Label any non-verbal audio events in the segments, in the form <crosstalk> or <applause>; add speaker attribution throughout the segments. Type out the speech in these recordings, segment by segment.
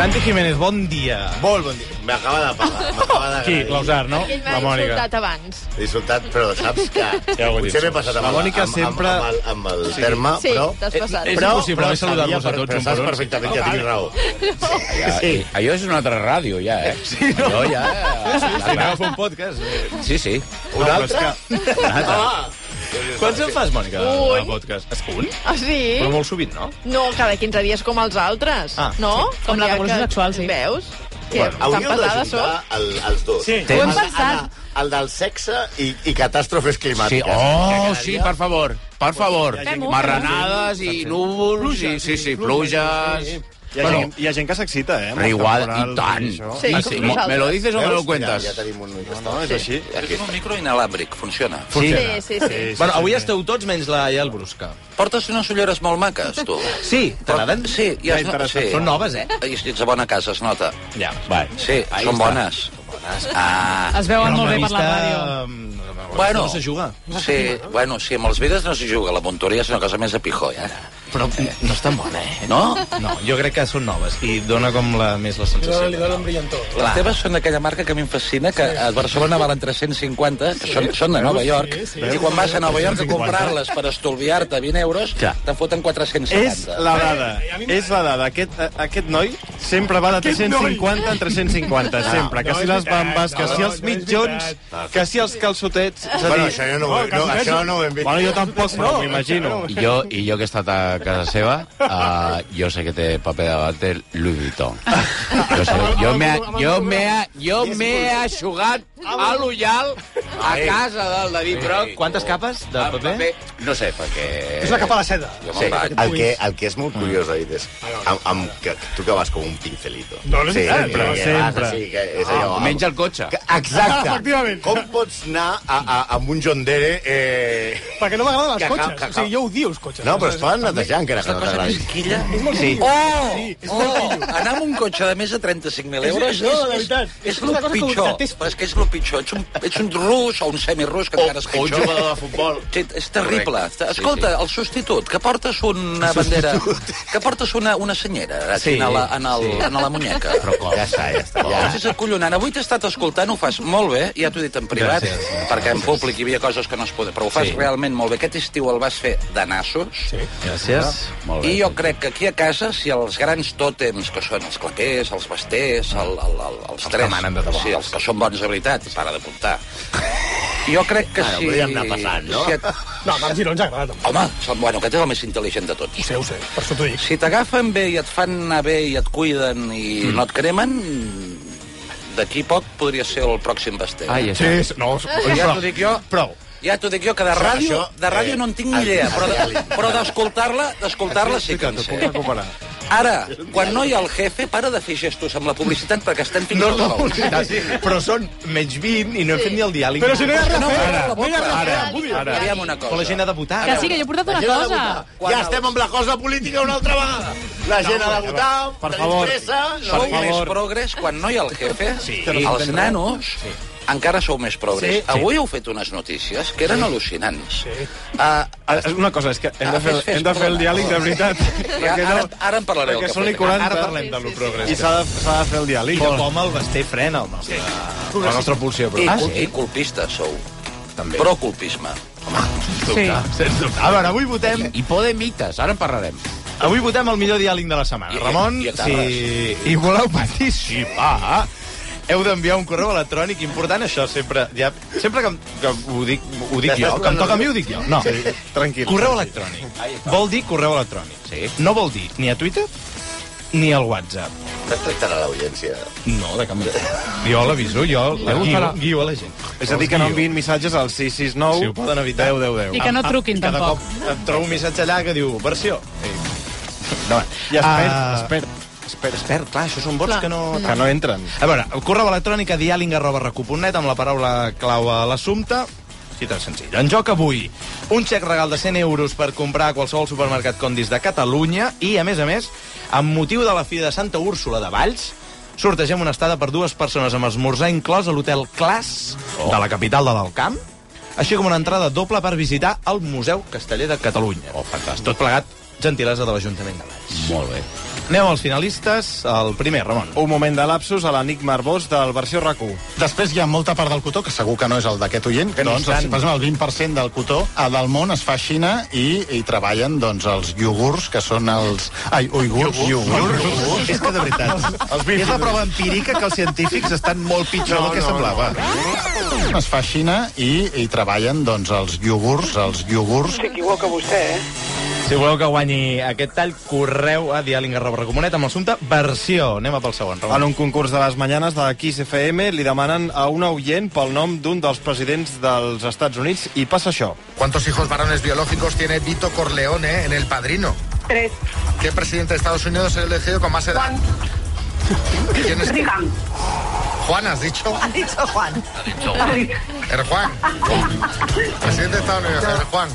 Speaker 1: Santi Jiménez, bon dia.
Speaker 2: Molt bon dia. M'acaba de pagar. M'acaba de...
Speaker 1: Qui? Clausar, no?
Speaker 3: Ell
Speaker 1: La
Speaker 3: m'ha
Speaker 1: Mònica.
Speaker 3: insultat abans.
Speaker 2: L'he insultat, però saps que...
Speaker 1: Ja ho he dit.
Speaker 2: potser m'he passat amb,
Speaker 1: La
Speaker 2: el-
Speaker 1: Mònica
Speaker 2: amb,
Speaker 1: sempre-
Speaker 2: amb, amb, el, amb el terme,
Speaker 3: Sí,
Speaker 2: però... eh,
Speaker 3: t'has passat.
Speaker 1: És
Speaker 2: però,
Speaker 1: impossible
Speaker 2: però
Speaker 1: no saludar-nos
Speaker 2: sabia
Speaker 1: a tots un
Speaker 2: per- però
Speaker 1: per
Speaker 2: saps
Speaker 1: un.
Speaker 2: perfectament que tinc raó.
Speaker 4: Allò, sí. allò és una altra ràdio, ja, eh? Sí, no? Allò ja...
Speaker 1: Si agafa un podcast.
Speaker 4: Sí, sí.
Speaker 2: Un
Speaker 1: però
Speaker 2: altre? Ah.
Speaker 1: és
Speaker 4: Una altra.
Speaker 1: Quants en fas, Mònica, de
Speaker 3: Un.
Speaker 1: podcast? És un?
Speaker 3: Ah, sí?
Speaker 1: Però molt sovint, no?
Speaker 3: No, cada 15 dies com els altres.
Speaker 1: Ah,
Speaker 3: no?
Speaker 5: Com la
Speaker 3: Ja
Speaker 5: revolució
Speaker 3: que-
Speaker 5: sexual, sí.
Speaker 3: Veus? Que
Speaker 2: Bueno,
Speaker 3: tan
Speaker 2: hauríeu
Speaker 3: pesada
Speaker 2: d'ajuntar
Speaker 3: sóc.
Speaker 2: el, els dos.
Speaker 1: Sí.
Speaker 2: El,
Speaker 4: Ho hem
Speaker 2: de-
Speaker 5: pensat.
Speaker 2: el, el del sexe i, i catàstrofes
Speaker 4: Sí,
Speaker 2: climàtiques.
Speaker 4: oh, sí, per favor, per favor.
Speaker 5: Fem-ho,
Speaker 4: Marranades i núvols, i, sí, sí, pluges...
Speaker 6: Hi ha,
Speaker 4: Bueno,
Speaker 6: gent, hi ha gent que s'excita, eh? amb
Speaker 4: però
Speaker 6: els
Speaker 4: igual,
Speaker 6: temporals
Speaker 4: i tant.
Speaker 6: això.
Speaker 3: Sí,
Speaker 4: I
Speaker 3: com
Speaker 4: sí,
Speaker 3: nosaltres.
Speaker 4: me lo dices o me lo
Speaker 2: Veus?
Speaker 4: cuentes?
Speaker 2: Ja, ja tenim un...
Speaker 6: No, és així.
Speaker 7: És un micro inalàmbric, funciona.
Speaker 3: Sí, sí, sí.
Speaker 6: Sí, sí.
Speaker 1: Bueno, avui esteu tots menys la Iael Brusca.
Speaker 7: Portes unes ulleres molt maques, tu.
Speaker 1: Sí, t'agraden?
Speaker 7: Sí, i es, no, sí.
Speaker 1: Són noves, eh?
Speaker 7: I ets a bona casa, es nota.
Speaker 1: Ja.
Speaker 4: Vale.
Speaker 7: Sí,
Speaker 4: Ahí
Speaker 7: són
Speaker 4: està.
Speaker 7: bones. Ah,
Speaker 5: Es veuen molt bé per la
Speaker 1: ràdio.
Speaker 5: ràdio.
Speaker 1: Bueno.
Speaker 7: Bueno.
Speaker 1: mm, No se juga.
Speaker 7: sí, bueno, sí, amb els vides no s'hi juga, la montoria és una cosa més de pijó, eh?
Speaker 1: Però no és tan bona, eh?
Speaker 7: No?
Speaker 1: No, jo crec que són noves i dona com la, més la sensació. Li dona
Speaker 7: Les teves són d'aquella marca que a mi em fascina, que a Barcelona valen 350, que són, són de Nova York, i quan vas a Nova York a comprar-les per estolviar-te 20 euros,
Speaker 4: Ja.
Speaker 7: te'n foten
Speaker 6: És
Speaker 7: 470.
Speaker 6: la dada,
Speaker 8: Eh,
Speaker 6: és la dada. Aquest, eh, aquest noi sempre va de 350 en 350, sempre. Que si les bambes, que si els mitjons, que si els calçotets... És a
Speaker 2: Bueno,
Speaker 6: dir,
Speaker 2: això jo no, ho he- no, això no ho hem vist.
Speaker 6: bueno, jo tampoc, però m'ho imagino.
Speaker 4: I jo, I jo que he estat a casa seva, uh, jo sé que té paper de vàter Louis Vuitton. Jo, sé, jo m'he jo m'he jo m'he aixugat a l'ullal a casa del David Broc.
Speaker 1: Quantes capes de
Speaker 4: El
Speaker 1: paper?
Speaker 4: paper, no sé, perquè...
Speaker 8: És la capa de seda.
Speaker 7: Jo
Speaker 4: Sí.
Speaker 7: me'n vaig.
Speaker 2: El que, el que és molt curiós, ha dit, és amb, amb, que, tu que vas com un pincelito. No, no sí, sempre,
Speaker 6: sempre.
Speaker 2: sí, que és allò, amb-
Speaker 4: Menja el cotxe.
Speaker 2: Que- Exacte.
Speaker 8: Ah, efectivament.
Speaker 2: Com pots anar a, a, amb un John Dere... Eh...
Speaker 8: Perquè no m'agraden els
Speaker 2: Cacau,
Speaker 8: cotxes.
Speaker 2: cacau.
Speaker 8: O sigui, jo odio els cotxes.
Speaker 2: No, però es poden netejar encara que no t'agradi.
Speaker 7: Quilla?
Speaker 2: Sí.
Speaker 7: Oh! oh! Anar amb un cotxe de més de 35.000
Speaker 8: És-
Speaker 7: euros
Speaker 8: és- no, de veritat.
Speaker 7: És,
Speaker 8: És
Speaker 7: és,
Speaker 8: una
Speaker 7: el
Speaker 8: cosa que
Speaker 7: pitjor.
Speaker 8: detesto.
Speaker 7: Però és que és el pitjor. Ets un, ets un rus o un semirrus,
Speaker 2: Oh,
Speaker 7: que encara és
Speaker 4: O un
Speaker 7: pitjor.
Speaker 4: jugador de futbol.
Speaker 7: Sí, és terrible.
Speaker 4: Correcte. Sí,
Speaker 7: Escolta, el substitut, que portes una bandera... Que portes una, una senyera
Speaker 1: Sí,
Speaker 7: sí, en, la, en, el,
Speaker 1: sí.
Speaker 7: en la muñeca.
Speaker 4: Però com?
Speaker 2: Ja està, ja està.
Speaker 7: Ja. És acollonant. Avui t'he estat escoltant, ho fas molt bé, ja t'ho he dit en privat,
Speaker 1: Gràcies, gràcies.
Speaker 7: perquè en públic hi havia coses que no es poden, però ho fas
Speaker 1: Sí.
Speaker 7: sí. realment molt bé. Aquest estiu el vas fer de nassos, sí.
Speaker 1: Gràcies.
Speaker 4: Molt bé.
Speaker 7: Ah, I jo crec que aquí a casa, si els grans tòtems, que són els clapers, els basters, el, el, el, els tres...
Speaker 4: manen de debò.
Speaker 7: Sí, els que són bons de veritat, para de comptar. Jo crec que
Speaker 2: Bueno,
Speaker 7: si...
Speaker 2: podríem anar passant, no?
Speaker 7: Si et...
Speaker 8: No, Marc Giró ens agrada, també.
Speaker 7: Home, és el- bueno, aquest és el més intel·ligent de tots.
Speaker 8: Ho sé, ho sé, per això t'ho dic.
Speaker 7: Si t'agafen bé i et fan anar bé i et cuiden i mm. no et cremen, d'aquí poc podria ser el pròxim baster.
Speaker 4: Ai,
Speaker 8: Sí,
Speaker 4: això.
Speaker 8: sí, no,
Speaker 7: ja t'ho dic jo...
Speaker 8: prou.
Speaker 7: Ja t'ho dic jo, que de ràdio,
Speaker 2: això,
Speaker 7: de ràdio
Speaker 2: eh,
Speaker 7: no en tinc
Speaker 2: el-
Speaker 7: ni idea, però,
Speaker 2: el-
Speaker 7: de- però d'escoltar-la d'escoltar-la sí que en sé. Ara, quan no hi ha el jefe, para de fer gestos amb la publicitat perquè estem fins
Speaker 1: No,
Speaker 7: al
Speaker 1: no,
Speaker 7: sol.
Speaker 1: però són menys 20 i no hem fet ni el diàleg.
Speaker 8: Però si no hi ha res
Speaker 7: No,
Speaker 8: a fer,
Speaker 7: ara,
Speaker 8: no hi ha res a fer.
Speaker 7: Ara, Aviam una
Speaker 1: Però la gent
Speaker 7: cosa.
Speaker 1: ha de votar.
Speaker 5: Que sí, que jo he portat una cosa.
Speaker 2: Ja estem amb la cosa política una altra vegada. La gent ha de votar,
Speaker 6: Per
Speaker 2: tenim
Speaker 6: favor.
Speaker 2: pressa...
Speaker 7: Sou
Speaker 6: Per
Speaker 7: més
Speaker 6: favor.
Speaker 7: progres quan no hi ha el jefe.
Speaker 1: Sí.
Speaker 7: Els nanos encara sou més progres.
Speaker 1: Sí.
Speaker 7: Avui heu fet unes notícies que eren al·lucinants. Ah,
Speaker 6: Ah, és Una cosa, és que hem de fer,
Speaker 7: Ah, fes, fes,
Speaker 6: hem de fer el
Speaker 7: perdona.
Speaker 6: diàleg de veritat.
Speaker 7: ja,
Speaker 6: perquè
Speaker 7: ara,
Speaker 6: no-
Speaker 7: ara en parlaré. del
Speaker 6: Perquè
Speaker 7: que
Speaker 6: són i
Speaker 7: feia.
Speaker 6: 40.
Speaker 1: Ara parlem de lo progres.
Speaker 6: I s'ha de, s'ha de fer el
Speaker 1: I
Speaker 6: diàleg.
Speaker 1: que com el Basté frena el nostre, la nostra pulsió.
Speaker 7: Ah, I,
Speaker 1: Però...
Speaker 7: cul- I colpistes sou.
Speaker 1: També.
Speaker 7: Proculpisme.
Speaker 5: Sí.
Speaker 1: Sens dubte. A veure, avui votem,
Speaker 4: I Podemites, ara en parlarem.
Speaker 1: avui votem el millor diàleg de la setmana.
Speaker 7: I- i-
Speaker 1: Ramon,
Speaker 7: i a Terres.
Speaker 1: si hi voleu participar, heu d'enviar un correu electrònic important, això sempre... Ja, sempre que, em- que ho dic, ho dic jo, que em toca a mi ho dic jo. No,
Speaker 6: Tranquil.
Speaker 1: correu electrònic. Vol dir correu electrònic.
Speaker 4: Sí.
Speaker 1: No vol dir ni a Twitter ni al WhatsApp.
Speaker 2: No es tractarà l'audiència.
Speaker 1: No, de cap manera. Jo l'aviso, jo la guio, guio a la gent.
Speaker 6: És a dir, que no enviïn missatges al 669...
Speaker 1: Si ho poden evitar. Ah,
Speaker 6: 10, 10, 10.
Speaker 5: I que no truquin,
Speaker 1: Cada
Speaker 5: tampoc.
Speaker 1: cop et trobo un missatge allà que diu versió.
Speaker 6: I es perd,
Speaker 1: Ah.
Speaker 6: es perd, es perd, es perd, clar, això són vots
Speaker 1: Vots que no...
Speaker 6: que no entren.
Speaker 1: A veure, el correu electrònic a diàling arroba recu.net amb la paraula clau a l'assumpte. Sí, tan senzill. En joc avui, un xec regal de 100 euros per comprar a qualsevol supermercat Condis de Catalunya i, a més a més, amb motiu de la fi de Santa Úrsula de Valls, sortegem una estada per dues persones amb esmorzar inclòs a l'hotel Clas
Speaker 6: Oh.
Speaker 1: de la capital de l'Alcamp, així com una entrada doble per visitar el Museu Casteller de Catalunya.
Speaker 4: Oh, fantàstic.
Speaker 1: Tot plegat, gentilesa de l'Ajuntament de Valls.
Speaker 4: Molt bé.
Speaker 1: Anem als finalistes. El primer, Ramon.
Speaker 6: Un moment de lapsus a l'Enric Marbós del versió rac
Speaker 9: Després hi ha molta part del cotó, que segur que no és el d'aquest oient, que doncs, el, per exemple, el 20% del cotó a del món es fa a Xina i hi treballen doncs, els iogurts, que són els... Ai, uigurs. Iogurts.
Speaker 10: És que de veritat, és la prova empírica que els científics estan molt pitjor del que semblava.
Speaker 9: Es fa a Xina i hi treballen doncs, els iogurts, els iogurts.
Speaker 1: Si voleu que guanyi aquest tall, correu a dialing.recomanet amb l'assumpte versió. Anem a pel segon,
Speaker 6: En
Speaker 1: Ramon.
Speaker 6: un concurs de les mañanes de Kiss FM li demanen a un oient pel nom d'un dels presidents dels Estats Units i passa això.
Speaker 10: ¿Cuántos hijos varones biológicos tiene Vito Corleone en El Padrino?
Speaker 11: Tres.
Speaker 10: ¿Qué presidente de Estados Unidos es elegido con más edad? ¿Quién es?
Speaker 11: Reagan.
Speaker 10: Juan, has dicho.
Speaker 11: Ha dicho Juan.
Speaker 10: El Juan. Presidente de Estados Unidos, el Juan.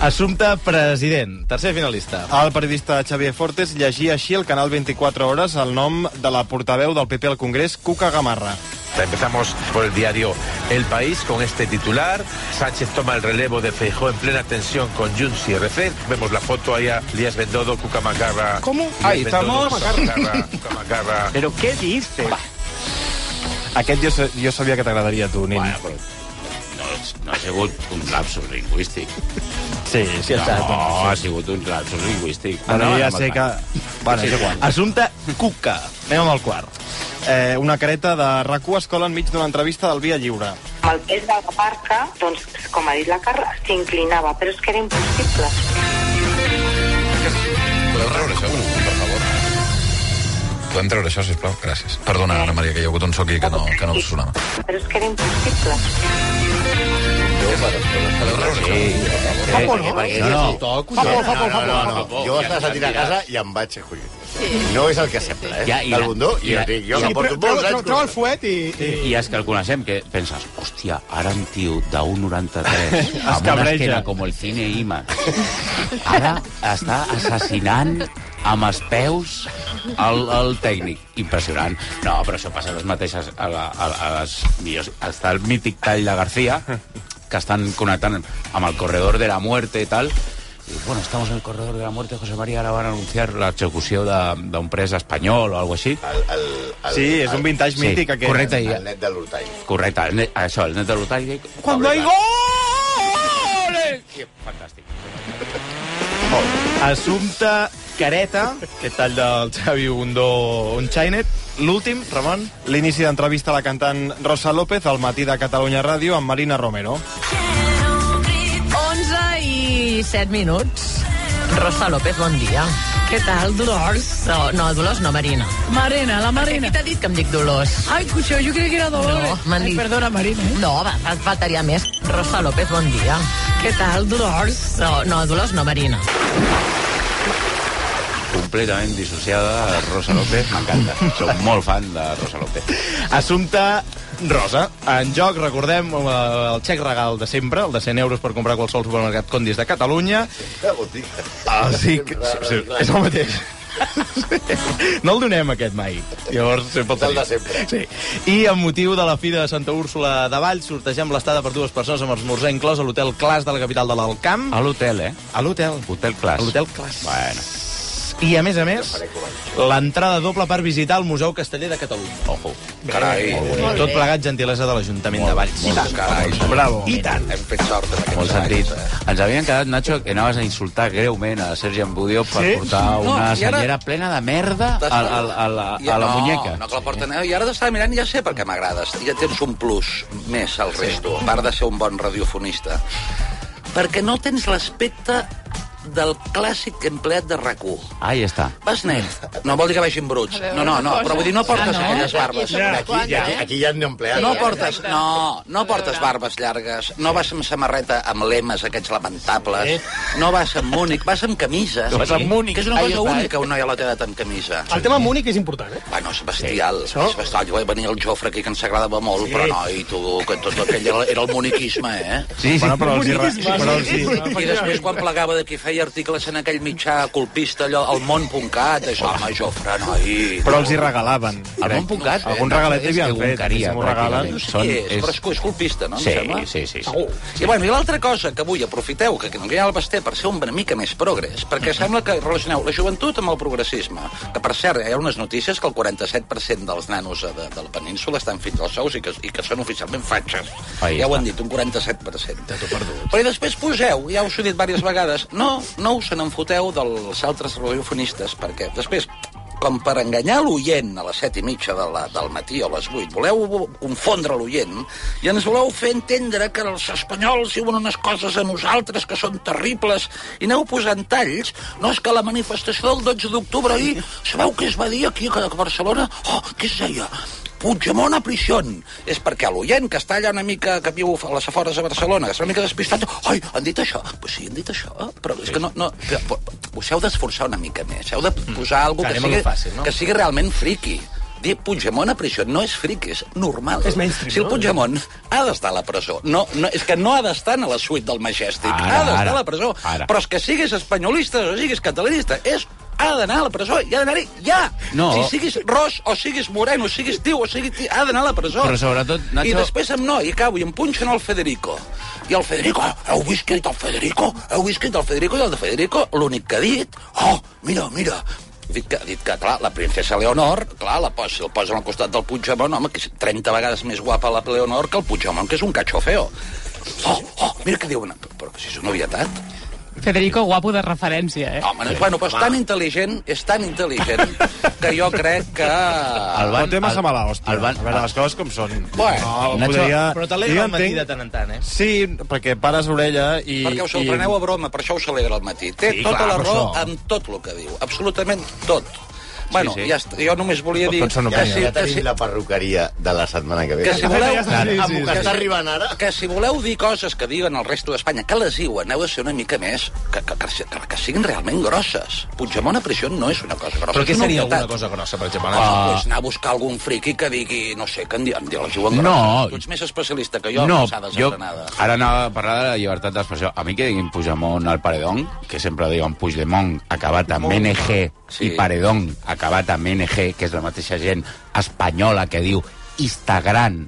Speaker 1: Assumpte president. Tercer finalista.
Speaker 6: El periodista Xavier Fortes llegia així al canal 24 Hores el nom de la portaveu del PP al Congrés, Cuca Gamarra.
Speaker 12: Empezamos por el diario El País con este titular. Sánchez toma el relevo de Feijó en plena tensión con Junts y RC. Vemos la foto ahí a Lías Bendodo, Cuca Macarra. ¿Cómo? Ahí estamos. Cuca Macarra.
Speaker 8: Però què diste?
Speaker 6: Aquest jo, sa- jo sabia que t'agradaria a tu, Nin.
Speaker 4: Bueno, però no, no ha sigut un lapsus lingüístic.
Speaker 6: Sí, sí.
Speaker 4: No, ha sigut un lapsus lingüístic.
Speaker 6: Bueno, ja
Speaker 4: Anava
Speaker 6: sé
Speaker 4: amb
Speaker 6: que...
Speaker 4: el
Speaker 6: Bueno, és igual.
Speaker 1: Assumpte Cuca. Anem amb el quart.
Speaker 6: Eh, una careta de rac es cola enmig d'una entrevista del Via Lliure.
Speaker 11: Amb el pes de la barca, doncs, com ha dit la Carla, s'inclinava, però és que era impossible.
Speaker 10: Podeu treure això, per favor? Podem treure això, sisplau? Gràcies. Perdona, Ana Maria, que hi ha hagut un so aquí que no, que no us sonava.
Speaker 11: Però és que era impossible.
Speaker 10: Podeu treure això?
Speaker 4: paper.
Speaker 2: Perquè no, no. Toc, no, no, no, no, no, no. Jo estava sentint a casa i em vaig acollir. No és el que sembla, eh?
Speaker 4: Ja, i la-
Speaker 2: el bundó,
Speaker 4: i
Speaker 2: i
Speaker 4: la-
Speaker 2: jo dic, jo
Speaker 4: i
Speaker 2: la
Speaker 4: la-
Speaker 2: porto molts anys...
Speaker 8: Treu el fuet i...
Speaker 4: I els que el coneixem, que penses, hòstia, ara un tio d'un 93 amb una
Speaker 6: cabreja.
Speaker 4: esquena com el cine Ima, ara està assassinant amb els peus el, el tècnic. Impressionant. No, però això passa a les mateixes... A, la, a, a les millors... Està el mític tall de García, que estan connectant amb el corredor de la muerte i tal, i, bueno, estamos en el corredor de la muerte, José María, ahora van a anunciar l'execució de- d'un pres espanyol o alguna així.
Speaker 2: El, el, el,
Speaker 6: Sí, és un vintage
Speaker 4: Sí,
Speaker 6: mític, aquest.
Speaker 4: correcte, i
Speaker 2: El net de l'Hortall.
Speaker 4: Correcte, el net, això, el net de l'Utah.
Speaker 8: Quan hi
Speaker 4: Sí, Fantàstic.
Speaker 1: Assumpte Careta, aquest tall del Xavi Bundó Unchained. L'últim, Ramon.
Speaker 6: L'inici d'entrevista a la cantant Rosa López al matí de Catalunya Ràdio amb Marina Romero.
Speaker 3: 11 i 7 minuts. Rosa López, bon dia. Què tal, Dolors? No, no Dolors no, Marina.
Speaker 5: Marina, la Marina.
Speaker 3: Qui t'ha dit que em dic Dolors?
Speaker 5: Ai, cucho, yo creí que era Dolores.
Speaker 3: No, m'han
Speaker 5: Ai,
Speaker 3: dit-
Speaker 5: perdona, Marina. eh?
Speaker 3: No, va, fa- faltaria més. Rosa López, bon dia. Què tal, Dolors? No, no Dolors no, Marina.
Speaker 4: Completament dissociada, Rosa López, m'encanta. Soc molt fan de Rosa López.
Speaker 1: Assumpte Rosa. En joc, recordem, eh, el xec regal de sempre, el de 100 euros per comprar a qualsevol supermercat Condis de Catalunya.
Speaker 2: Que botica.
Speaker 1: Ah, sí, que, sí, sí, és el mateix. <laughs> No el donem, aquest, mai. Llavors, sempre
Speaker 2: És el de
Speaker 1: tenim.
Speaker 2: sempre.
Speaker 1: Sí. I amb motiu de la fira de Santa Úrsula de Vall, sortegem l'estada per dues persones amb esmorzar inclòs a l'hotel Clas de la capital de l'Alcamp.
Speaker 4: A l'hotel, eh?
Speaker 1: A l'hotel.
Speaker 4: Hotel Clars.
Speaker 1: A l'hotel Clas.
Speaker 4: Bueno,
Speaker 1: I, a més a més, l'entrada doble per visitar el Museu Casteller de Catalunya.
Speaker 4: ojo.
Speaker 7: Carai,
Speaker 3: Molt
Speaker 1: Tot
Speaker 3: bé.
Speaker 1: plegat gentilesa de l'Ajuntament de Valls. I tant.
Speaker 7: carai.
Speaker 1: Bravo. I tant.
Speaker 7: Hem fet sort amb
Speaker 4: Molt
Speaker 7: aquests
Speaker 4: sentit.
Speaker 7: anys. eh?
Speaker 4: Ens havien quedat, Nacho, que anaves a insultar greument a Sergi Ambudio per portar
Speaker 7: No,
Speaker 4: una
Speaker 7: i ara-
Speaker 4: senyera plena de merda a, a, a, la-
Speaker 7: Ja,
Speaker 4: a la
Speaker 7: no,
Speaker 4: muñeca.
Speaker 7: No, que la porten... I ara t'estava mirant i ja sé per què m'agrades. Ja tens un plus més al resto, a part de ser un bon radiofonista. Perquè no tens l'aspecte del clàssic empleat de rac
Speaker 4: Ahí està.
Speaker 7: Vas net. No vol dir que vagin bruts.
Speaker 3: veure,
Speaker 7: No, no, no,
Speaker 3: una Ah,
Speaker 7: però vull dir, no portes aquelles barbes.
Speaker 2: Aquí, aquí, aquí hi ha empleats.
Speaker 7: No
Speaker 3: Sí,
Speaker 7: portes,
Speaker 3: exacte.
Speaker 7: no, no portes barbes llargues, no vas amb samarreta amb lemes aquests lamentables, no vas amb Múnich, vas amb camisa.
Speaker 4: Vas amb Múnich.
Speaker 7: Que és una
Speaker 4: Ahí
Speaker 7: cosa
Speaker 4: està, eh?
Speaker 7: única, un noi a la teva amb camisa.
Speaker 8: El tema Múnich és important, eh?
Speaker 7: Bueno, Sebastià, sí. Sebastià, jo vaig venir el Jofre aquí, que ens agradava molt, sí. però no, i tu, que tot aquell era, era el moniquisme, eh?
Speaker 6: Sí, sí. Bueno, però els, irra... però els,
Speaker 7: I després, quan plegava de qui feia feia articles en aquell mitjà colpista, allò, el món.cat, això, home, Jofre, noi...
Speaker 6: Però els hi regalaven.
Speaker 1: El món.cat,
Speaker 4: eh,
Speaker 6: Algun regalet hi havia fet.
Speaker 1: Guncaria,
Speaker 6: si m'ho regalen.
Speaker 1: pràcticament.
Speaker 7: Sí,
Speaker 1: Són-
Speaker 7: és,
Speaker 1: és-
Speaker 7: però és, és colpista, no? em
Speaker 1: Sí,
Speaker 7: sembla?
Speaker 1: sí, sí, sí.
Speaker 7: Segur. I, bueno, i l'altra cosa que avui aprofiteu, que no hi ha el Basté, per ser una mica més progres, perquè sembla que relacioneu la joventut amb el progressisme, que per cert, hi ha unes notícies que el 47% dels nanos eh, de, de la península estan fins als sous i que, i que són oficialment fatxes.
Speaker 1: Ahí
Speaker 7: ja ho
Speaker 1: està.
Speaker 7: han dit, un 47%. Però i després poseu, ja us ho he dit diverses vegades, no, no us en foteu dels altres radiofonistes, perquè després com per enganyar l'oient a les set i mitja de la, del matí o a les vuit, voleu confondre l'oient i ens voleu fer entendre que els espanyols diuen unes coses a nosaltres que són terribles i aneu posant talls. No, és que la manifestació del 12 d'octubre ahir, sabeu què es va dir aquí a Barcelona? Oh, què es deia? Puigdemont a prisión. És perquè a l'oient que està allà una mica, que viu a les afores de Barcelona, que està una mica despistat, ai, han dit això, pues sí, han dit això, però és que no... no que, us heu d'esforçar una mica més, heu de posar alguna cosa que,
Speaker 8: Anem a lo
Speaker 7: sigui,
Speaker 8: fàcil, no?
Speaker 7: que sigui realment friqui. Dir Puigdemont a prisió no és friqui, és normal.
Speaker 13: És mainstream,
Speaker 7: Si el
Speaker 13: no?
Speaker 7: Puigdemont ha d'estar a la presó, no, no, és que no ha d'estar a la suite del Majestic,
Speaker 1: Ara,
Speaker 7: ha d'estar
Speaker 1: ara,
Speaker 7: a la presó.
Speaker 1: ara.
Speaker 7: Però és que siguis espanyolista o siguis catalanista, és ha d'anar a la presó i ha d'anar-hi ja.
Speaker 1: No.
Speaker 7: Si siguis ros o siguis moreno, siguis tiu o siguis tiu, ha d'anar a la presó.
Speaker 1: Però sobretot, Nacho-
Speaker 7: I després amb no, i acabo, i em punxen el Federico. I el Federico, heu vist que ha dit el Federico? Heu vist que ha dit el Federico? I el de Federico, l'únic que ha dit, oh, mira, mira, ha dit que, ha dit que, clar, la princesa Leonor, clar, la posa, si el posen al costat del Puigdemont, home, que és 30 vegades més guapa la Leonor que el Puigdemont, que és un catxo feo. Oh, oh, mira què diuen. Però si és una obvietat.
Speaker 3: Federico, guapo de referència, eh?
Speaker 7: Home, no, bueno, però és tan intel·ligent, és tan intel·ligent, que jo crec que...
Speaker 6: El van, no té massa mala hòstia. El
Speaker 1: van-
Speaker 6: van, a veure, les coses com són.
Speaker 7: Bueno,
Speaker 8: Nacho,
Speaker 6: podria-
Speaker 8: però t'alegra
Speaker 6: jo
Speaker 8: el matí
Speaker 6: entenc-
Speaker 8: de tant en tant, eh?
Speaker 6: Sí, perquè pares orella i...
Speaker 7: Perquè us el preneu a broma, per això us alegra al matí. Té
Speaker 6: Sí,
Speaker 7: sí, tota
Speaker 6: clar,
Speaker 7: la
Speaker 6: per
Speaker 7: raó
Speaker 6: això.
Speaker 7: amb tot el que diu, absolutament tot. Bueno,
Speaker 6: sí.
Speaker 7: sí, sí. ja està. Jo només volia dir...
Speaker 6: Tots són
Speaker 2: Ja,
Speaker 7: que si,
Speaker 2: ja
Speaker 7: que
Speaker 2: tenim
Speaker 7: si,
Speaker 2: la perruqueria de la setmana que ve.
Speaker 7: que si voleu...
Speaker 2: Amb el que
Speaker 7: que
Speaker 2: està
Speaker 7: si-
Speaker 2: arribant ara...
Speaker 7: Que si voleu dir coses que diuen el resto d'Espanya, que les diuen, heu de ser una mica més... Que, que, que, que, que siguin realment grosses. Puigdemont a prisió no és una cosa grossa.
Speaker 8: Però què
Speaker 7: és una
Speaker 8: seria alguna
Speaker 7: obvietat.
Speaker 8: cosa grossa, per exemple?
Speaker 7: Ah.
Speaker 8: Nacho?
Speaker 7: Pues anar a buscar algun friqui que digui, no sé, que en, di- en diuen
Speaker 1: No.
Speaker 7: grossa. Tu ets més especialista que jo, no,
Speaker 1: jo
Speaker 7: desgranada.
Speaker 1: ara anava a parlar de la llibertat d'expressió. A mi que diguin Puigdemont al paredón, que sempre diuen Puigdemont acabat amb NG
Speaker 7: Sí.
Speaker 1: i paredón acabat amb NG, que és la mateixa gent espanyola que diu Instagram,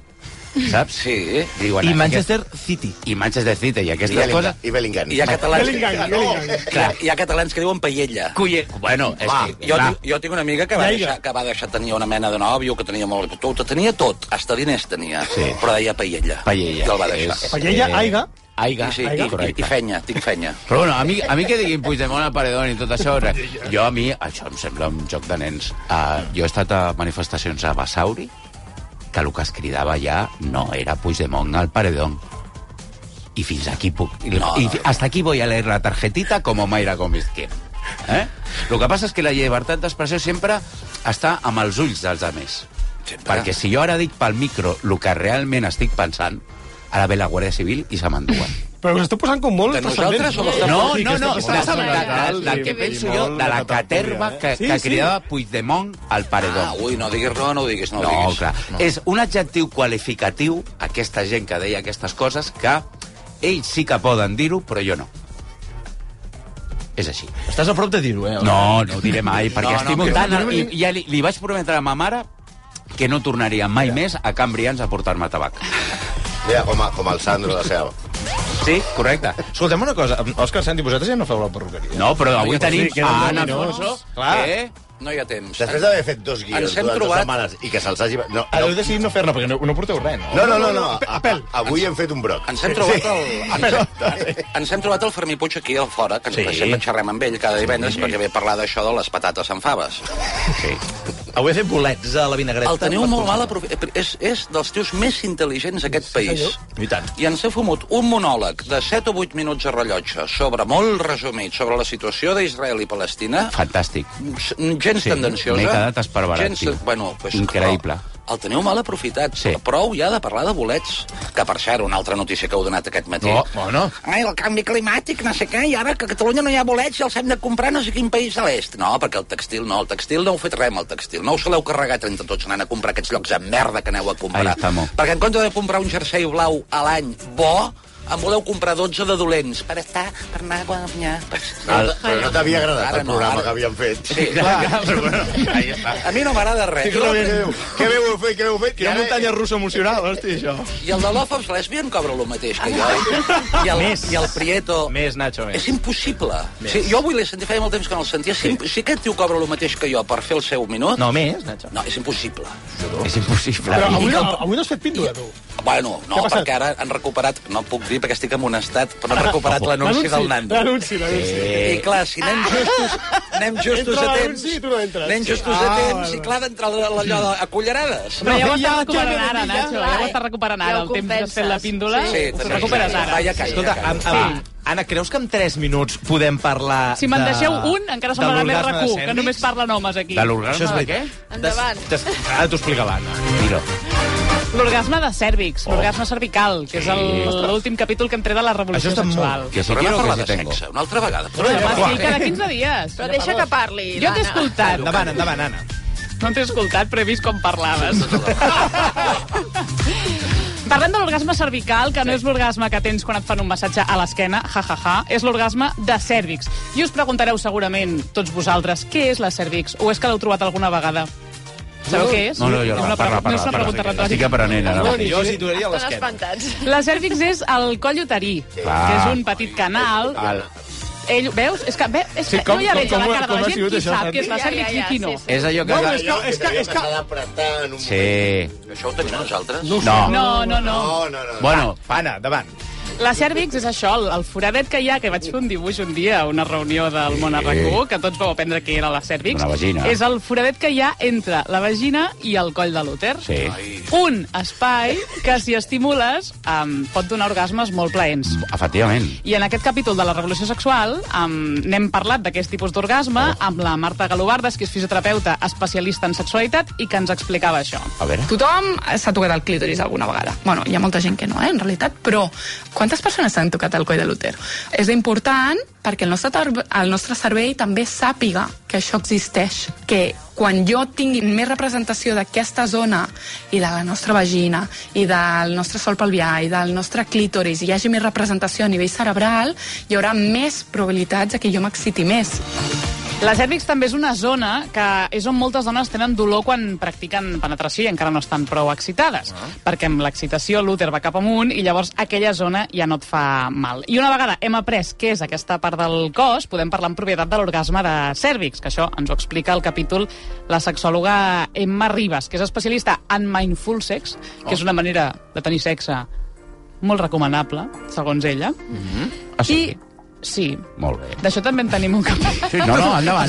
Speaker 1: saps?
Speaker 7: Sí.
Speaker 1: Diuen,
Speaker 8: I
Speaker 1: aquest-
Speaker 8: Manchester City.
Speaker 1: I Manchester City, i
Speaker 2: I
Speaker 1: aquesta cosa...
Speaker 2: Bellingham. I Bellingham.
Speaker 7: Hi ha catalans que,
Speaker 13: Bellingham, Bellingham.
Speaker 7: hi ha, hi ha catalans que diuen paella.
Speaker 1: Cuye... Bueno, és
Speaker 7: Ah,
Speaker 1: que...
Speaker 7: jo,
Speaker 1: clar,
Speaker 7: tinc- jo tinc una amiga que va,
Speaker 13: Lleiga.
Speaker 7: deixar, que va deixar tenir una mena de nòvio, que tenia molt... Tot, tenia tot, hasta diners tenia, sí. però deia paella.
Speaker 1: Paella.
Speaker 7: I el va deixar.
Speaker 1: És-
Speaker 13: Paella,
Speaker 1: Eh,
Speaker 13: aiga.
Speaker 1: Aiga,
Speaker 7: I, sí, i,
Speaker 1: aiga,
Speaker 7: i,
Speaker 1: correcte.
Speaker 7: i fenya, tinc fenya.
Speaker 1: Però bueno, a mi, a mi que diguin Puigdemont al paredón i tot això... Res. Jo a mi, això em sembla un joc de nens. Uh, jo he estat a manifestacions a Basauri, que el que es cridava ja no era Puigdemont al paredón. I fins aquí puc...
Speaker 7: No,
Speaker 1: i
Speaker 7: no.
Speaker 1: hasta aquí voy a leer la tarjetita com Mayra Gómez Quer. Eh? El que passa és que la llibertat d'expressió sempre està amb els ulls dels altres.
Speaker 7: Sempre.
Speaker 1: Perquè si jo ara dic pel micro el que realment estic pensant, ara ve la Guàrdia Civil i se m'enduen.
Speaker 13: Però us esteu posant com molt...
Speaker 7: De nosaltres o dels
Speaker 13: transcendents.
Speaker 1: No,
Speaker 13: Sí, que
Speaker 1: no, no,
Speaker 13: esteu
Speaker 1: estàs
Speaker 13: posant-
Speaker 1: parlant del, del que
Speaker 6: i-
Speaker 1: penso
Speaker 6: i
Speaker 1: jo,
Speaker 6: molt
Speaker 1: de la
Speaker 6: de
Speaker 1: caterva
Speaker 6: tertúlia, eh?
Speaker 1: que,
Speaker 13: Sí,
Speaker 1: que
Speaker 13: sí.
Speaker 1: cridava Puigdemont al paredó.
Speaker 7: Ah, ui, no diguis no, no ho diguis, no, ho
Speaker 1: No,
Speaker 7: diguis. Eh,
Speaker 1: clar. És un adjectiu qualificatiu, aquesta gent que deia aquestes coses, que ells sí que poden dir-ho, però jo no. És així.
Speaker 8: Estàs a prop de dir-ho, eh?
Speaker 1: No, no ho diré mai, perquè no,
Speaker 7: No, no,
Speaker 1: estimo
Speaker 7: que-
Speaker 1: no, tant... I, ja li, li vaig prometre a ma mare que no tornaria mai més a Can Brians a portar-me tabac.
Speaker 2: Mira, com, a, com el Sandro de Seu.
Speaker 1: Sí, correcte.
Speaker 8: Escolta'm una cosa, Òscar Santi, vosaltres ja no feu la perruqueria.
Speaker 1: No, però avui
Speaker 6: Ai, pues sí,
Speaker 1: tenim
Speaker 6: queden
Speaker 1: a
Speaker 6: deu
Speaker 1: Anna Eh?
Speaker 6: minuts.
Speaker 1: Alfonso,
Speaker 8: Clar.
Speaker 1: que
Speaker 7: No hi ha temps.
Speaker 2: Després d'haver fet dos guions
Speaker 7: Ens hem
Speaker 2: durant dues
Speaker 7: trobat-
Speaker 2: setmanes i que se'ls hagi... No,
Speaker 8: Heu
Speaker 2: no,
Speaker 8: decidit no fer-ne, perquè no, no porteu res, no?
Speaker 2: no, no, no, no. A, a, avui hem fet un broc.
Speaker 7: Ens hem trobat
Speaker 2: <laughs>
Speaker 7: el... Ens, hem- ens hem trobat el Fermí Puig aquí al fora, que ens
Speaker 1: Sí.
Speaker 7: sí. sempre xerrem amb ell cada divendres sí. perquè ve a parlar d'això de les patates amb faves.
Speaker 8: Avui he fet bolets a la vinagreta.
Speaker 7: El teniu molt mal aprofit... És, és dels tios més intel·ligents d'aquest país.
Speaker 8: I tant.
Speaker 7: I ens he fumut un monòleg de 7 o 8 minuts a rellotge sobre, molt resumit, sobre la situació d'Israel i Palestina.
Speaker 1: Fantàstic.
Speaker 7: S- Gens
Speaker 1: Sí,
Speaker 7: tendenciosa.
Speaker 1: m'he quedat esparverat, tio.
Speaker 7: Bueno, pues,
Speaker 1: Increïble.
Speaker 7: Però, el teniu mal aprofitat.
Speaker 1: Sí.
Speaker 7: Sí. Prou ja de parlar de bolets. Que, per cert, una altra notícia que heu donat aquest matí.
Speaker 8: No, bueno.
Speaker 7: Ai, el canvi climàtic, no sé què, i ara que a Catalunya no hi ha bolets i els hem de comprar no sé quin país de l'est. No, perquè el textil no, el textil no heu fet res amb el textil. No us l'heu carregat entre tots anant a comprar aquests llocs de merda que aneu a comprar.
Speaker 1: Ahí estamos.
Speaker 7: Perquè en comptes de comprar un jersei blau a l'any bo, en voleu comprar 12 de dolents per estar, per anar a guanyar. Per...
Speaker 1: Ah.
Speaker 2: Ara, però no t'havia agradat el programa que havíem fet.
Speaker 7: Sí, clar. Però bueno, ahí està. A mi no m'agrada res.
Speaker 2: Quina ràbia que diu, Què bé ho heu fet, què bé ho heu fet?
Speaker 6: Quina muntanya russa emocional, hosti, això.
Speaker 7: I el de l'Ofobs Lesbian cobra el mateix que jo. eh?
Speaker 8: <laughs>
Speaker 7: I el,
Speaker 6: Més.
Speaker 7: I el Prieto...
Speaker 6: Més, Nacho, més.
Speaker 7: És impossible. Sí, jo avui l'he sentit, feia molt temps que no el sentia. Sí, sí que et diu cobra el mateix que jo per fer el seu minut.
Speaker 6: No, més, Nacho.
Speaker 7: No, és impossible.
Speaker 1: És impossible.
Speaker 8: Però avui, no- avui no has fet píndola, tu.
Speaker 7: Bueno,
Speaker 8: Què
Speaker 7: no,
Speaker 8: ha passat?
Speaker 7: perquè ara han recuperat... No puc dir perquè estic en un estat, però han recuperat l'anunci del Nando.
Speaker 8: L'anunci, l'anunci.
Speaker 7: I clar, si anem justos, anem justos
Speaker 8: Entra
Speaker 7: a temps...
Speaker 8: l'anunci i tu no entres.
Speaker 7: Anem justos
Speaker 8: Ah,
Speaker 7: a temps
Speaker 8: vale.
Speaker 7: i clar, d'entrar la- la- allò de- a cullerades.
Speaker 5: Però ja
Speaker 8: ja-
Speaker 5: ho estàs recuperant
Speaker 8: ja-
Speaker 5: ara,
Speaker 8: ja-
Speaker 5: Nacho. Ja ho estàs recuperant ara.
Speaker 14: Ja ho
Speaker 5: El temps que has fet la
Speaker 14: compenses.
Speaker 5: píndola,
Speaker 7: Sí,
Speaker 5: ho
Speaker 7: també.
Speaker 5: recuperes ara.
Speaker 7: Vaya calla,
Speaker 6: Escolta,
Speaker 7: calla.
Speaker 6: Am, am, Anna, creus que en 3 minuts podem parlar...
Speaker 5: Si me'n
Speaker 6: de-
Speaker 5: deixeu un, encara
Speaker 6: de
Speaker 5: semblarà més
Speaker 6: l'orgasme
Speaker 5: recu,
Speaker 6: de
Speaker 5: que només parlen homes aquí.
Speaker 1: De l'orgasme
Speaker 6: Això és
Speaker 1: de
Speaker 6: veritat.
Speaker 3: Endavant.
Speaker 6: Des- Ara t'ho explica l'Anna.
Speaker 1: Mira.
Speaker 5: L'orgasme de cèrvix,
Speaker 6: Oh.
Speaker 5: l'orgasme cervical, que és el- l'últim capítol que entré de la revolució
Speaker 6: Això està molt-
Speaker 5: sexual.
Speaker 1: Que si
Speaker 7: Però
Speaker 1: quiero,
Speaker 7: anem a
Speaker 1: que
Speaker 7: parlar
Speaker 1: si
Speaker 7: de
Speaker 1: tengo.
Speaker 7: sexe, una altra vegada.
Speaker 5: Home, sí, cada 15 dies.
Speaker 3: Però deixa que parli,
Speaker 5: Jo t'he
Speaker 3: l'Anna.
Speaker 5: escoltat.
Speaker 6: Endavant, endavant, Anna.
Speaker 5: No t'he escoltat, però he vist com parlaves. <laughs> Parlem de l'orgasme cervical, que no és l'orgasme que tens quan et fan un massatge a l'esquena, ja, ja, ja, és l'orgasme de cèrvix. I us preguntareu segurament, tots vosaltres, què és la cèrvix? O és que l'heu trobat alguna vegada? Sabeu què és?
Speaker 1: No, no, jo
Speaker 5: És una
Speaker 1: no. Parla,
Speaker 5: pre- no
Speaker 1: parla,
Speaker 5: és una pregunta
Speaker 1: parla. Estic
Speaker 5: retòrica.
Speaker 1: aprenent ara. mateix.
Speaker 6: Jo situaria
Speaker 3: Estan
Speaker 6: l'esquena.
Speaker 3: espantats.
Speaker 5: La cèrvix és el coll uterí, que és un petit canal...
Speaker 1: Al-
Speaker 5: Ell, veus? És que, ve, és
Speaker 15: Sí,
Speaker 5: que
Speaker 15: com-
Speaker 5: no hi ha
Speaker 15: com-
Speaker 5: veig a la
Speaker 15: com-
Speaker 5: cara de
Speaker 15: com
Speaker 5: la
Speaker 15: ha
Speaker 5: gent
Speaker 15: sigut
Speaker 5: qui
Speaker 15: això,
Speaker 5: sap què és la
Speaker 3: Ja,
Speaker 5: cèrvix
Speaker 3: ja,
Speaker 5: i
Speaker 3: ja,
Speaker 5: qui no.
Speaker 3: sí, sí.
Speaker 1: És allò que...
Speaker 2: és que... És que... És que... apretant un
Speaker 1: Sí.
Speaker 7: Això ho tenim nosaltres?
Speaker 1: No.
Speaker 5: No, no, no.
Speaker 2: No, no, no.
Speaker 1: Bueno,
Speaker 6: Anna, davant.
Speaker 5: La cèrvix és això, el, el foradet que hi ha, que vaig fer un dibuix un dia a una reunió del món arracú, que tots vau aprendre que era la cèrvix.
Speaker 1: Una vagina.
Speaker 5: És el foradet que hi ha entre la vagina i el coll de l'úter.
Speaker 1: sí.
Speaker 5: Un espai que, si estimules, um, pot donar orgasmes molt plaents.
Speaker 1: Efectivament.
Speaker 5: I en aquest capítol de la revolució sexual um, n'hem parlat d'aquest tipus d'orgasme
Speaker 1: Oh.
Speaker 5: amb la Marta Galobardes, que és fisioterapeuta especialista en sexualitat i que ens explicava això.
Speaker 1: A veure.
Speaker 16: Tothom s'ha tocat el clítoris alguna vegada. Bueno, hi ha molta gent que no, eh, en realitat, però quantes persones s'han tocat el coll de l'úter? És important perquè el nostre, tar- el nostre cervell també sàpiga que això existeix, que quan jo tingui més representació d'aquesta zona i de la nostra vagina i del nostre sol pelvià i del nostre clítoris i hi hagi més representació a nivell cerebral, hi haurà més probabilitats de que jo m'exciti més.
Speaker 5: La cèrvix també és una zona que és on moltes dones tenen dolor quan practiquen penetració i encara no estan prou excitades,
Speaker 1: Ah.
Speaker 5: perquè amb l'excitació l'úter va cap amunt i llavors aquella zona ja no et fa mal. I una vegada hem après què és aquesta part del cos, podem parlar en propietat de l'orgasme de cèrvix, que això ens ho explica el capítol la sexòloga Emma Ribas, que és especialista en mindful sex, que és
Speaker 1: Oh.
Speaker 5: una manera de tenir sexe molt recomanable, segons ella.
Speaker 1: Ah, sí?
Speaker 5: I Sí,
Speaker 1: Molt bé.
Speaker 5: d'això també en tenim un capítol.
Speaker 1: Sí, no, no, endavant.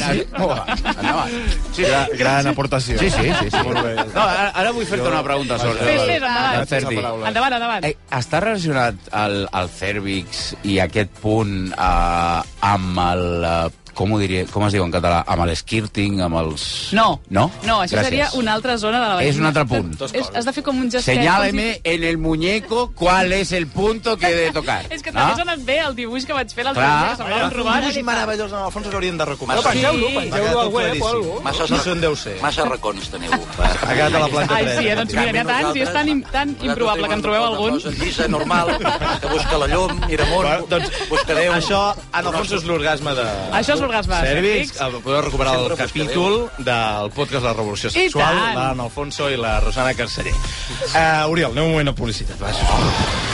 Speaker 1: Endavant.
Speaker 15: Sí, gran aportació.
Speaker 1: Sí, sí, sí. sí.
Speaker 15: Molt bé.
Speaker 1: No, ara, ara vull fer-te una pregunta sobre...
Speaker 5: Fes, fes, endavant.
Speaker 1: de Cervi.
Speaker 5: Endavant, endavant.
Speaker 1: Eh, està relacionat el, el cèrvix i aquest punt eh, amb el... Eh, com, ho diria, com es diu en català? Amb l'esquirting, amb els...
Speaker 5: No.
Speaker 1: No?
Speaker 5: No, això
Speaker 1: Gràcies.
Speaker 5: seria una altra zona de la vagina.
Speaker 1: És un altre punt.
Speaker 5: És, has de fer com un gestet.
Speaker 1: Señáleme en el muñeco cuál es el punto que he de tocar.
Speaker 5: <laughs> És que també ha sonat bé el dibuix que vaig fer l'altre
Speaker 1: Ah? Clar.
Speaker 5: dia, que semblava un robat.
Speaker 6: dibuix meravellós, en el fons us haurien de recomanar.
Speaker 7: Però
Speaker 5: pengeu-lo,
Speaker 6: Ha
Speaker 8: pengeu-lo
Speaker 6: quedat
Speaker 8: al web
Speaker 6: tot
Speaker 8: o
Speaker 6: claríssim.
Speaker 8: alguna
Speaker 7: Massa,
Speaker 6: No sé on deu ser.
Speaker 7: massa racons teniu.
Speaker 6: Ha quedat a la planta
Speaker 5: Ai, sí, eh,
Speaker 6: tres.
Speaker 5: doncs mira, n'hi ha tants, i és tan, im- tan improbable que en trobeu
Speaker 7: Una
Speaker 5: algun.
Speaker 7: cosa llisa, normal, que busca la llum, mira amunt,
Speaker 6: Bueno, doncs,
Speaker 7: busca Déu.
Speaker 6: Això, en el fons, és l'orgasme de...
Speaker 5: Això és l'orgasme de
Speaker 6: Cèrvix.
Speaker 5: cèrvix.
Speaker 6: Eh, Podeu recuperar el
Speaker 7: Sempre buscaré.
Speaker 6: capítol del podcast La Revolució
Speaker 5: I
Speaker 6: Sexual,
Speaker 5: tant.
Speaker 6: Eh, l'Anna Alfonso i la Rosana Carceller. Uh, Oriol, anem un moment a publicitat. Va, sisplau.